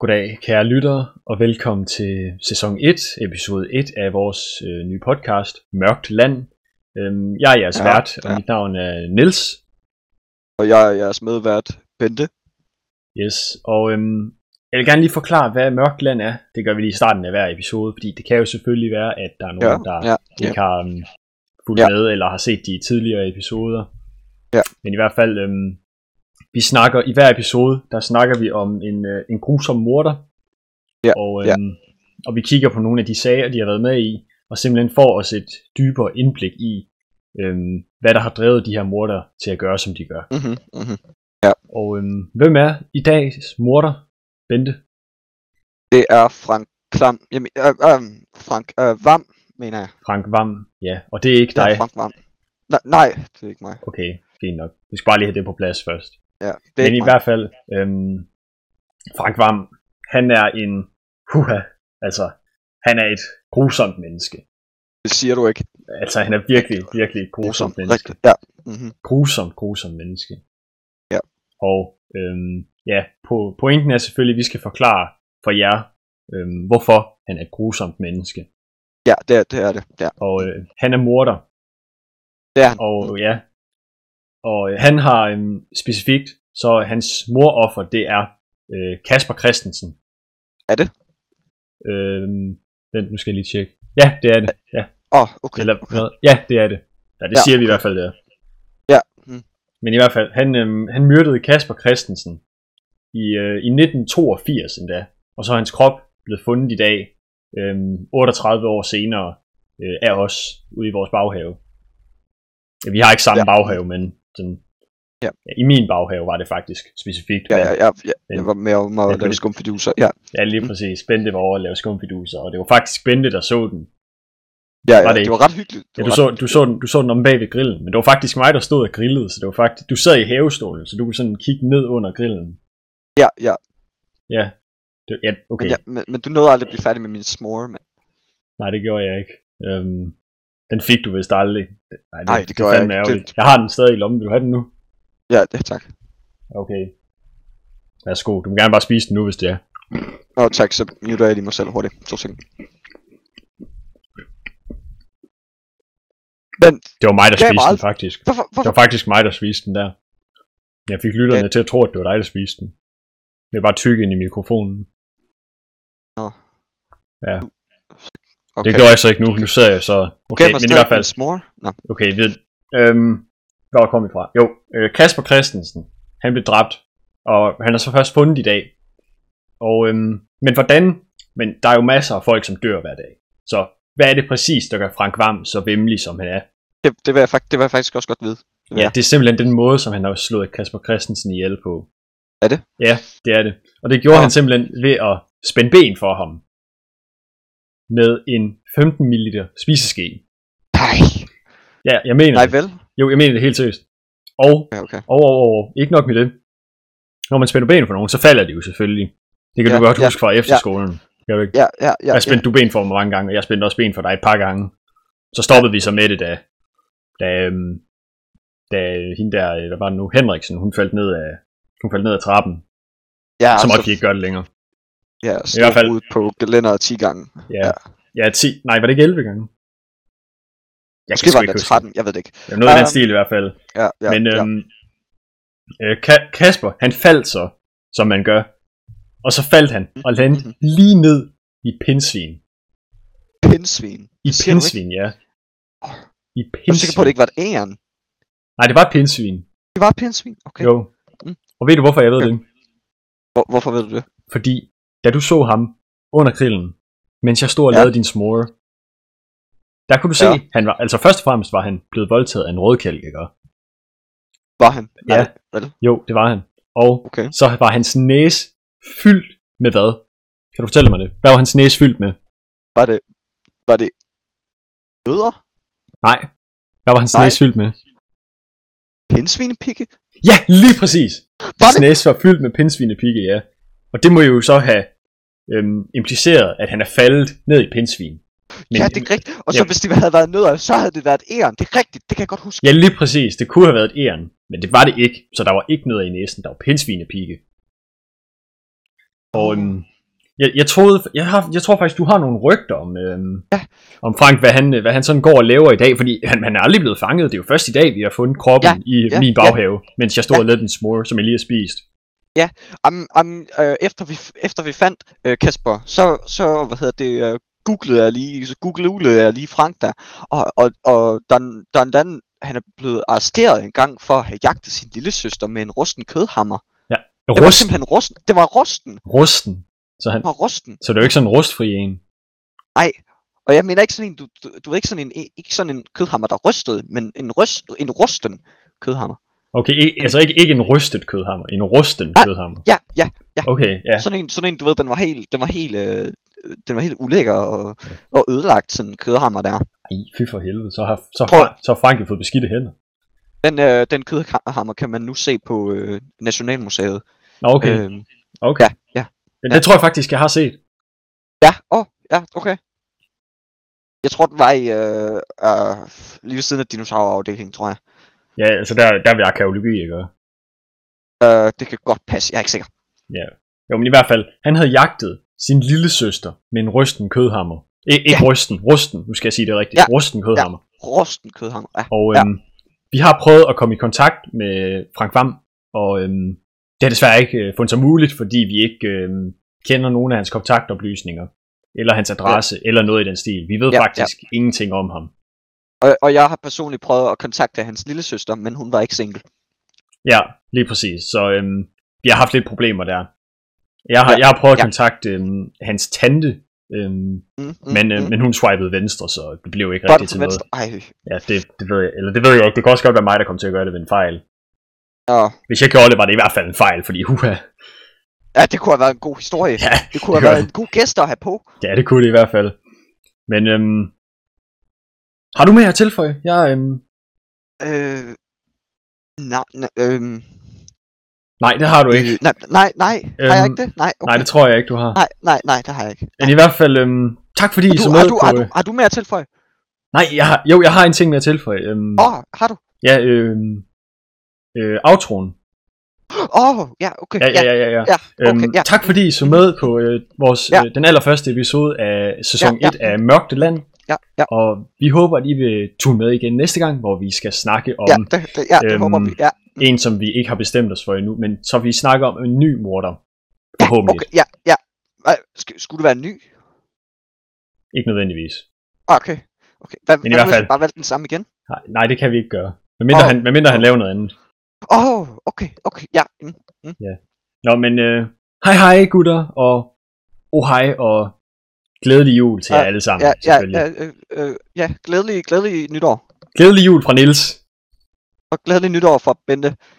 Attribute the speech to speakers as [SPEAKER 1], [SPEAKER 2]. [SPEAKER 1] Goddag kære lyttere, og velkommen til sæson 1, episode 1 af vores øh, nye podcast, Mørkt Land. Øhm, jeg er jeres ja,
[SPEAKER 2] Ja,
[SPEAKER 1] vært, og
[SPEAKER 2] ja.
[SPEAKER 1] mit navn er Niels.
[SPEAKER 2] Og jeg er jeres medvært, Bente.
[SPEAKER 1] Yes, og øhm, jeg vil gerne lige forklare, hvad Mørkt Land er. Det gør vi lige i starten af hver episode, fordi det kan jo selvfølgelig være, at der er
[SPEAKER 2] Ja,
[SPEAKER 1] nogen, ja, der
[SPEAKER 2] ja, ja.
[SPEAKER 1] ikke har um, fulgt ja.
[SPEAKER 2] Ja.
[SPEAKER 1] med, eller har set de tidligere episoder.
[SPEAKER 2] Ja.
[SPEAKER 1] Men i hvert fald, øhm, vi snakker i hver episode, der snakker vi om en, øh, en grusom morder.
[SPEAKER 2] Ja,
[SPEAKER 1] Og,
[SPEAKER 2] ja.
[SPEAKER 1] øhm, og vi kigger på nogle af de sager, de har været med i, og simpelthen får os et dybere indblik i, øhm, hvad der har drevet de her morder til at gøre, som de gør.
[SPEAKER 2] Mm-hmm, mm-hmm.
[SPEAKER 1] Og øhm, hvem er i dags morder? Bente?
[SPEAKER 2] Det er Frank Klam. Jamen, øh, øh, Frank øh, Vam, mener jeg.
[SPEAKER 1] Frank Vam? Ja, og det er ikke
[SPEAKER 2] Det
[SPEAKER 1] dig.
[SPEAKER 2] er Frank Vam. Nej, nej, det er ikke mig.
[SPEAKER 1] Okay, fint nok. Vi skal bare lige have det på plads først.
[SPEAKER 2] Ja, det er
[SPEAKER 1] Men
[SPEAKER 2] ikke
[SPEAKER 1] i
[SPEAKER 2] mig.
[SPEAKER 1] hvert fald, øhm, Frank Vam, han er en huha, altså han er et grusomt menneske.
[SPEAKER 2] Det siger du ikke.
[SPEAKER 1] Altså han er virkelig, virkelig et grusomt menneske.
[SPEAKER 2] Rigtigt. Ja. Mm-hmm.
[SPEAKER 1] Grusomt, grusomt menneske.
[SPEAKER 2] Ja.
[SPEAKER 1] Og øhm, ja, på, pointen er selvfølgelig, at vi skal forklare for jer, øhm, hvorfor han er et grusomt menneske.
[SPEAKER 2] Ja, det er det. Er det. Ja.
[SPEAKER 1] Og øh, han er morder,
[SPEAKER 2] det er han.
[SPEAKER 1] og ja, og øh, han har øhm, specifikt, så hans moroffer, det er øh, Kasper Christensen.
[SPEAKER 2] Er det?
[SPEAKER 1] Øhm, vent, nu skal jeg lige tjekke. Ja, det er det. Ja,
[SPEAKER 2] Åh, oh, okay.
[SPEAKER 1] Eller, hvad? ja det er det. Ja, det
[SPEAKER 2] Ja,
[SPEAKER 1] siger vi i hvert fald, det er.
[SPEAKER 2] Ja, mm.
[SPEAKER 1] Men i hvert fald, han, øhm, han myrdede Kasper Christensen i, øh, i 1982 endda, og så er hans krop blevet fundet i dag, øhm, 38 år senere, øh, af os ude i vores baghave. Ja, vi har ikke samme ja.
[SPEAKER 2] Ja.
[SPEAKER 1] baghave, men den,
[SPEAKER 2] Ja.
[SPEAKER 1] Ja, i min baghave var det faktisk specifikt.
[SPEAKER 2] Ja, Mm. ja, ja, ja.
[SPEAKER 1] Men-
[SPEAKER 2] Jeg var med om at
[SPEAKER 1] Men-
[SPEAKER 2] lave skumfiduser. Ja,
[SPEAKER 1] ja lige præcis. Bente var over at lave skumfiduser, og det var faktisk Bente, der så den.
[SPEAKER 2] ja,
[SPEAKER 1] Var
[SPEAKER 2] ja.
[SPEAKER 1] det
[SPEAKER 2] Det var ret hyggeligt. Det
[SPEAKER 1] Ja,
[SPEAKER 2] var
[SPEAKER 1] du,
[SPEAKER 2] ret...
[SPEAKER 1] så, du, så den, du så den om bag ved grillen, men det var faktisk mig, der stod og grillede, så det var faktisk, du sad i havestolen, så du kunne sådan kigge ned under grillen.
[SPEAKER 2] ja, ja.
[SPEAKER 1] Ja, det, ja
[SPEAKER 2] Men,
[SPEAKER 1] okay.
[SPEAKER 2] ja men, men, du nåede aldrig at blive færdig med min smore, mand.
[SPEAKER 1] Nej, det gjorde jeg ikke. Øhm, den fik du vist aldrig. Nej,
[SPEAKER 2] Nej, det gjorde jeg
[SPEAKER 1] fandme
[SPEAKER 2] ikke.
[SPEAKER 1] ærgerligt. Jeg har den stadig i lommen, vil du have den nu?
[SPEAKER 2] Ja, det, tak.
[SPEAKER 1] Okay. Værsgo, du må gerne bare spise den nu, hvis det er.
[SPEAKER 2] Nå, tak, så muter jeg lige mig selv hurtigt. To sekunder. Men
[SPEAKER 1] Det var mig, der
[SPEAKER 2] Gav mig
[SPEAKER 1] spiste den
[SPEAKER 2] aldrig-
[SPEAKER 1] faktisk.
[SPEAKER 2] hvorfor,
[SPEAKER 1] Det
[SPEAKER 2] hvorfor
[SPEAKER 1] var faktisk mig, der spiste den der. Jeg fik lytterne til at tro, at det var dig, der spiste den. Det er bare tykke ind i mikrofonen. Okay. Det gjorde jeg så ikke nu. Nu sidder jeg så...
[SPEAKER 2] Okay,
[SPEAKER 1] Okay, men i hvert fald...
[SPEAKER 2] Smore? Nå,
[SPEAKER 1] Okay, ved... Øhm, hvor kom vi fra? Jo, øh, Kasper Christensen, han blev dræbt, og han er så først fundet i dag. Og, øhm, men hvordan? Men der er jo masser af folk, som dør hver dag. Så hvad er det præcis, der gør Frank Vam så vemmelig, som han er?
[SPEAKER 2] det, det, vil jeg, fakt- det vil jeg faktisk også godt vide.
[SPEAKER 1] Ja. ja,
[SPEAKER 2] Ja.
[SPEAKER 1] det er simpelthen den måde, som han har slået Kasper Christensen ihjel på.
[SPEAKER 2] Er det?
[SPEAKER 1] Ja, det er det. Og det gjorde ja.
[SPEAKER 2] Nå.
[SPEAKER 1] han simpelthen ved at spænde ben for ham. Med en 15 ml spiseske.
[SPEAKER 2] Nej,
[SPEAKER 1] Ja, jeg mener
[SPEAKER 2] nej
[SPEAKER 1] det.
[SPEAKER 2] vel?
[SPEAKER 1] Jo, jeg mener det helt seriøst. Og
[SPEAKER 2] Ja, okay.
[SPEAKER 1] Og, og, og ikke nok med det. Når man spænder ben for nogen, så falder de jo selvfølgelig. Det kan ja, du
[SPEAKER 2] Ja,
[SPEAKER 1] godt
[SPEAKER 2] ja,
[SPEAKER 1] huske fra efterskolen. Ja. Jeg, ikke?
[SPEAKER 2] Ja, ja, ja.
[SPEAKER 1] jeg spændte ja. du ben for mig mange gange, og jeg spændte også ben for dig et par gange. Så stoppede vi så med det, da, da, øhm, da hende der, øh, hvad var det nu, Henriksen, hun faldt ned af, hun faldt ned af trappen.
[SPEAKER 2] ja, altså,
[SPEAKER 1] Ja, så måtte vi ikke gøre det længere.
[SPEAKER 2] Ja,
[SPEAKER 1] I hvert fald-
[SPEAKER 2] ud på gelænderet 10 gange.
[SPEAKER 1] Ja,
[SPEAKER 2] Ja.
[SPEAKER 1] ja 10, nej, var det ikke 11 gange? Jeg
[SPEAKER 2] Måske var
[SPEAKER 1] sgu
[SPEAKER 2] det
[SPEAKER 1] ikke huske
[SPEAKER 2] 13, jeg ved det ikke.
[SPEAKER 1] Det var noget i den
[SPEAKER 2] Øhm,
[SPEAKER 1] stil i hvert fald.
[SPEAKER 2] Ja, ja,
[SPEAKER 1] Ja, Men
[SPEAKER 2] ja.
[SPEAKER 1] øhm, øh, Ka- Kasper, han faldt så, som man gør. Og så faldt han og landede
[SPEAKER 2] Mhm.
[SPEAKER 1] lige ned i pindsvin.
[SPEAKER 2] Pindsvin.
[SPEAKER 1] I
[SPEAKER 2] Siger du ikke?
[SPEAKER 1] pindsvin, ja.
[SPEAKER 2] Åh,
[SPEAKER 1] I
[SPEAKER 2] Jeg er sikker på,
[SPEAKER 1] pindsvin.
[SPEAKER 2] at det ikke var et æren.
[SPEAKER 1] Nej, det var et pindsvin.
[SPEAKER 2] Det var et pindsvin? Okay.
[SPEAKER 1] Jo.
[SPEAKER 2] Mm.
[SPEAKER 1] Og ved du, hvorfor jeg ved
[SPEAKER 2] Ja.
[SPEAKER 1] det?
[SPEAKER 2] Hvor, hvorfor ved du det?
[SPEAKER 1] Fordi, da du så ham under grillen, mens jeg stod og
[SPEAKER 2] Ja.
[SPEAKER 1] lavede din smore, der kunne du se,
[SPEAKER 2] Ja.
[SPEAKER 1] han var, altså først og fremmest var han blevet voldtaget af en rødkælk, ikke?
[SPEAKER 2] Var han?
[SPEAKER 1] Ja.
[SPEAKER 2] Nej, vel?
[SPEAKER 1] Jo, det var han. Og
[SPEAKER 2] Okay.
[SPEAKER 1] så var hans næse fyldt med hvad? Kan du fortælle mig det? Hvad var hans næse fyldt med?
[SPEAKER 2] Var det... Var det... Nødder?
[SPEAKER 1] Nej. Hvad var hans
[SPEAKER 2] Nej.
[SPEAKER 1] næse fyldt med?
[SPEAKER 2] Pindsvinepigge?
[SPEAKER 1] Ja, lige præcis.
[SPEAKER 2] Var
[SPEAKER 1] Hans
[SPEAKER 2] det?
[SPEAKER 1] næse var fyldt med pindsvinepigge, ja. Og det må jo så have øhm, impliceret, at han er faldet ned i pindsvin. Men,
[SPEAKER 2] ja, det er rigtigt. Og så
[SPEAKER 1] ja.
[SPEAKER 2] hvis det havde været nødder, så havde det været et æren. Det er rigtigt, det kan jeg godt huske.
[SPEAKER 1] ja, lige præcis. Det kunne have været et æren, men det var det ikke. Så der var ikke noget i næsen. Der var pindsvinepigge. Og øhm, jeg, jeg, troede, jeg, har, jeg tror faktisk, du har nogle rygter om, øhm, ja. om Frank, hvad han, øh, hvad han sådan går og laver i dag, fordi han, han er aldrig blevet fanget. Det er jo først i dag, vi har fundet kroppen
[SPEAKER 2] Ja,
[SPEAKER 1] ja. i
[SPEAKER 2] ja,
[SPEAKER 1] ja. min
[SPEAKER 2] ja.
[SPEAKER 1] baghave, ja. mens jeg stod
[SPEAKER 2] Ja.
[SPEAKER 1] ja. og lavede den smør, som jeg lige har spist.
[SPEAKER 2] Am, am, øh, efter, vi, efter vi fandt øh, Kasper, så, så hvad hedder det, øh, googlede jeg lige, så googlede jeg lige Frank der, og, og, og den, den, den, han er blevet arresteret en gang for at have jagtet sin lille søster med en rusten kødhammer. Det var
[SPEAKER 1] Rusten.
[SPEAKER 2] simpelthen rusten. Det var rusten.
[SPEAKER 1] Rusten. Så, han,
[SPEAKER 2] Det var rusten.
[SPEAKER 1] så det er jo ikke sådan en rustfri en.
[SPEAKER 2] Og jeg mener ikke sådan en, du, du, du ved ikke sådan en, ikke sådan en kødhammer, der rystede, men en, ryst, en rusten kødhammer.
[SPEAKER 1] Okay, ikke, altså ikke, ikke en rystet kødhammer, en rusten
[SPEAKER 2] Ah.
[SPEAKER 1] kødhammer.
[SPEAKER 2] Ja, ja,
[SPEAKER 1] Okay, ja.
[SPEAKER 2] ja. Sådan, en, sådan en, du ved, den var helt, den var helt, øh, den var helt ulækker og, og ødelagt, sådan en kødhammer der.
[SPEAKER 1] Ej, fy for helvede, så har, så,
[SPEAKER 2] Prøv-
[SPEAKER 1] har, så har Frank jo fået beskidte hænder.
[SPEAKER 2] Den, øh, den kødhammer kan man nu se på øh, Nationalmuseet.
[SPEAKER 1] Nå, okay, øh,
[SPEAKER 2] Øh,
[SPEAKER 1] okay.
[SPEAKER 2] ja, ja.
[SPEAKER 1] Det, det tror jeg faktisk, jeg har set.
[SPEAKER 2] ja, åh, oh, ja, okay. Jeg tror, den var i, øh, øh, lige ved siden af dinosaurafdelingen, tror jeg.
[SPEAKER 1] Ja, altså der, der vil arkeologi, ikke?
[SPEAKER 2] Øh, det kan godt passe, jeg er ikke sikker.
[SPEAKER 1] Jo, men i hvert fald, han havde jagtet sin lille søster med en rysten kødhammer. I, ikke ja. rysten, rusten, nu skal jeg sige det rigtigt.
[SPEAKER 2] Ja.
[SPEAKER 1] Ja. Rusten kødhammer. Ja.
[SPEAKER 2] Rosten kødhammer, ja.
[SPEAKER 1] Og øhm, ja. vi har prøvet at komme i kontakt med Frank Vam, og øhm, det har desværre ikke øh, fundet sig muligt, fordi vi ikke øhm, kender nogen af hans kontaktoplysninger, eller hans adresse, ja. eller noget i den stil. Vi ved
[SPEAKER 2] Ja,
[SPEAKER 1] ja,
[SPEAKER 2] ja.
[SPEAKER 1] faktisk ja. ingenting om ham.
[SPEAKER 2] Og, og jeg har personligt prøvet at kontakte hans lille søster, men hun var ikke single.
[SPEAKER 1] Ja, lige præcis. Så øhm, vi har haft lidt problemer der. Jeg har,
[SPEAKER 2] Ja,
[SPEAKER 1] ja, jeg har prøvet at
[SPEAKER 2] ja.
[SPEAKER 1] kontakte øhm, hans tante, øhm, mm,
[SPEAKER 2] Mm, mm,
[SPEAKER 1] men, øh, men hun swipede venstre, så det blev ikke
[SPEAKER 2] Bånd
[SPEAKER 1] rigtigt
[SPEAKER 2] fra
[SPEAKER 1] til noget.
[SPEAKER 2] venstre. Ej,
[SPEAKER 1] Ja, det, det, ved jeg, eller det ved jeg ikke. Det kan også godt være mig, der kom til at gøre det ved en fejl.
[SPEAKER 2] åh.
[SPEAKER 1] Hvis jeg gjorde det, var det i hvert fald en fejl, fordi huha.
[SPEAKER 2] ja, det kunne have været en god historie.
[SPEAKER 1] Ja,
[SPEAKER 2] Det kunne have
[SPEAKER 1] det
[SPEAKER 2] været
[SPEAKER 1] var-
[SPEAKER 2] en god gæst at have på.
[SPEAKER 1] ja, det kunne det i hvert fald. Men øhm, har du mere at tilføje? Jeg, øhm,
[SPEAKER 2] Øh, nej, nej, øhm,
[SPEAKER 1] nej, det har du ikke.
[SPEAKER 2] nej, nej, nej, har jeg
[SPEAKER 1] Øhm,
[SPEAKER 2] ikke det? Nej, Øh, okay.
[SPEAKER 1] Nej, det tror jeg ikke, du har.
[SPEAKER 2] nej, nej, nej, det har jeg ikke.
[SPEAKER 1] Men i hvert fald, øhm, tak fordi
[SPEAKER 2] Har
[SPEAKER 1] I
[SPEAKER 2] du,
[SPEAKER 1] så
[SPEAKER 2] har,
[SPEAKER 1] med
[SPEAKER 2] du,
[SPEAKER 1] på...
[SPEAKER 2] har, du,
[SPEAKER 1] øh,
[SPEAKER 2] har du mere at tilføje?
[SPEAKER 1] Nej, jeg har, jo, jeg har en ting mere at tilføje. Øhm,
[SPEAKER 2] Åh, oh, har du?
[SPEAKER 1] Ja, øhm, øh, outroen.
[SPEAKER 2] Åh, oh, ja, okay,
[SPEAKER 1] Ja, ja, ja, ja. ja.
[SPEAKER 2] ja, okay,
[SPEAKER 1] øhm,
[SPEAKER 2] ja.
[SPEAKER 1] Tak fordi I så med på øh, vores,
[SPEAKER 2] Ja.
[SPEAKER 1] ja. øh, den allerførste episode af sæson
[SPEAKER 2] Ja, ja.
[SPEAKER 1] 1 af Mørkte Land.
[SPEAKER 2] Ja, ja,
[SPEAKER 1] Og vi håber, at I vil tune med igen næste gang, hvor vi skal snakke om
[SPEAKER 2] ja, det, det, ja, det
[SPEAKER 1] øhm,
[SPEAKER 2] håber vi. Ja,
[SPEAKER 1] en, som vi ikke har bestemt os for endnu, men så vi snakker om en ny morder.
[SPEAKER 2] ja,
[SPEAKER 1] Forhåbentlig.
[SPEAKER 2] okay, ja, ja. Hvad, sk- skulle det være en ny?
[SPEAKER 1] Ikke nødvendigvis.
[SPEAKER 2] Okay, okay. Hvad,
[SPEAKER 1] Men i
[SPEAKER 2] hvad nu,
[SPEAKER 1] hvert
[SPEAKER 2] hvis
[SPEAKER 1] fald-
[SPEAKER 2] vi Bare valgte den samme igen?
[SPEAKER 1] Nej, nej, det kan vi ikke gøre. Hvad mindre,
[SPEAKER 2] Åh.
[SPEAKER 1] han, hvad mindre han laver noget andet.
[SPEAKER 2] Åh, oh, okay, okay, ja. Mm.
[SPEAKER 1] Nå, men øh, hej hej gutter, og oh hej, og glædelig jul til
[SPEAKER 2] Ja,
[SPEAKER 1] jer alle sammen,
[SPEAKER 2] Ja, ja,
[SPEAKER 1] selvfølgelig.
[SPEAKER 2] ja, øh, øh, ja, glædelig, glædelig nytår.
[SPEAKER 1] Glædelig jul fra Nils.
[SPEAKER 2] Og glædelig nytår fra Bente.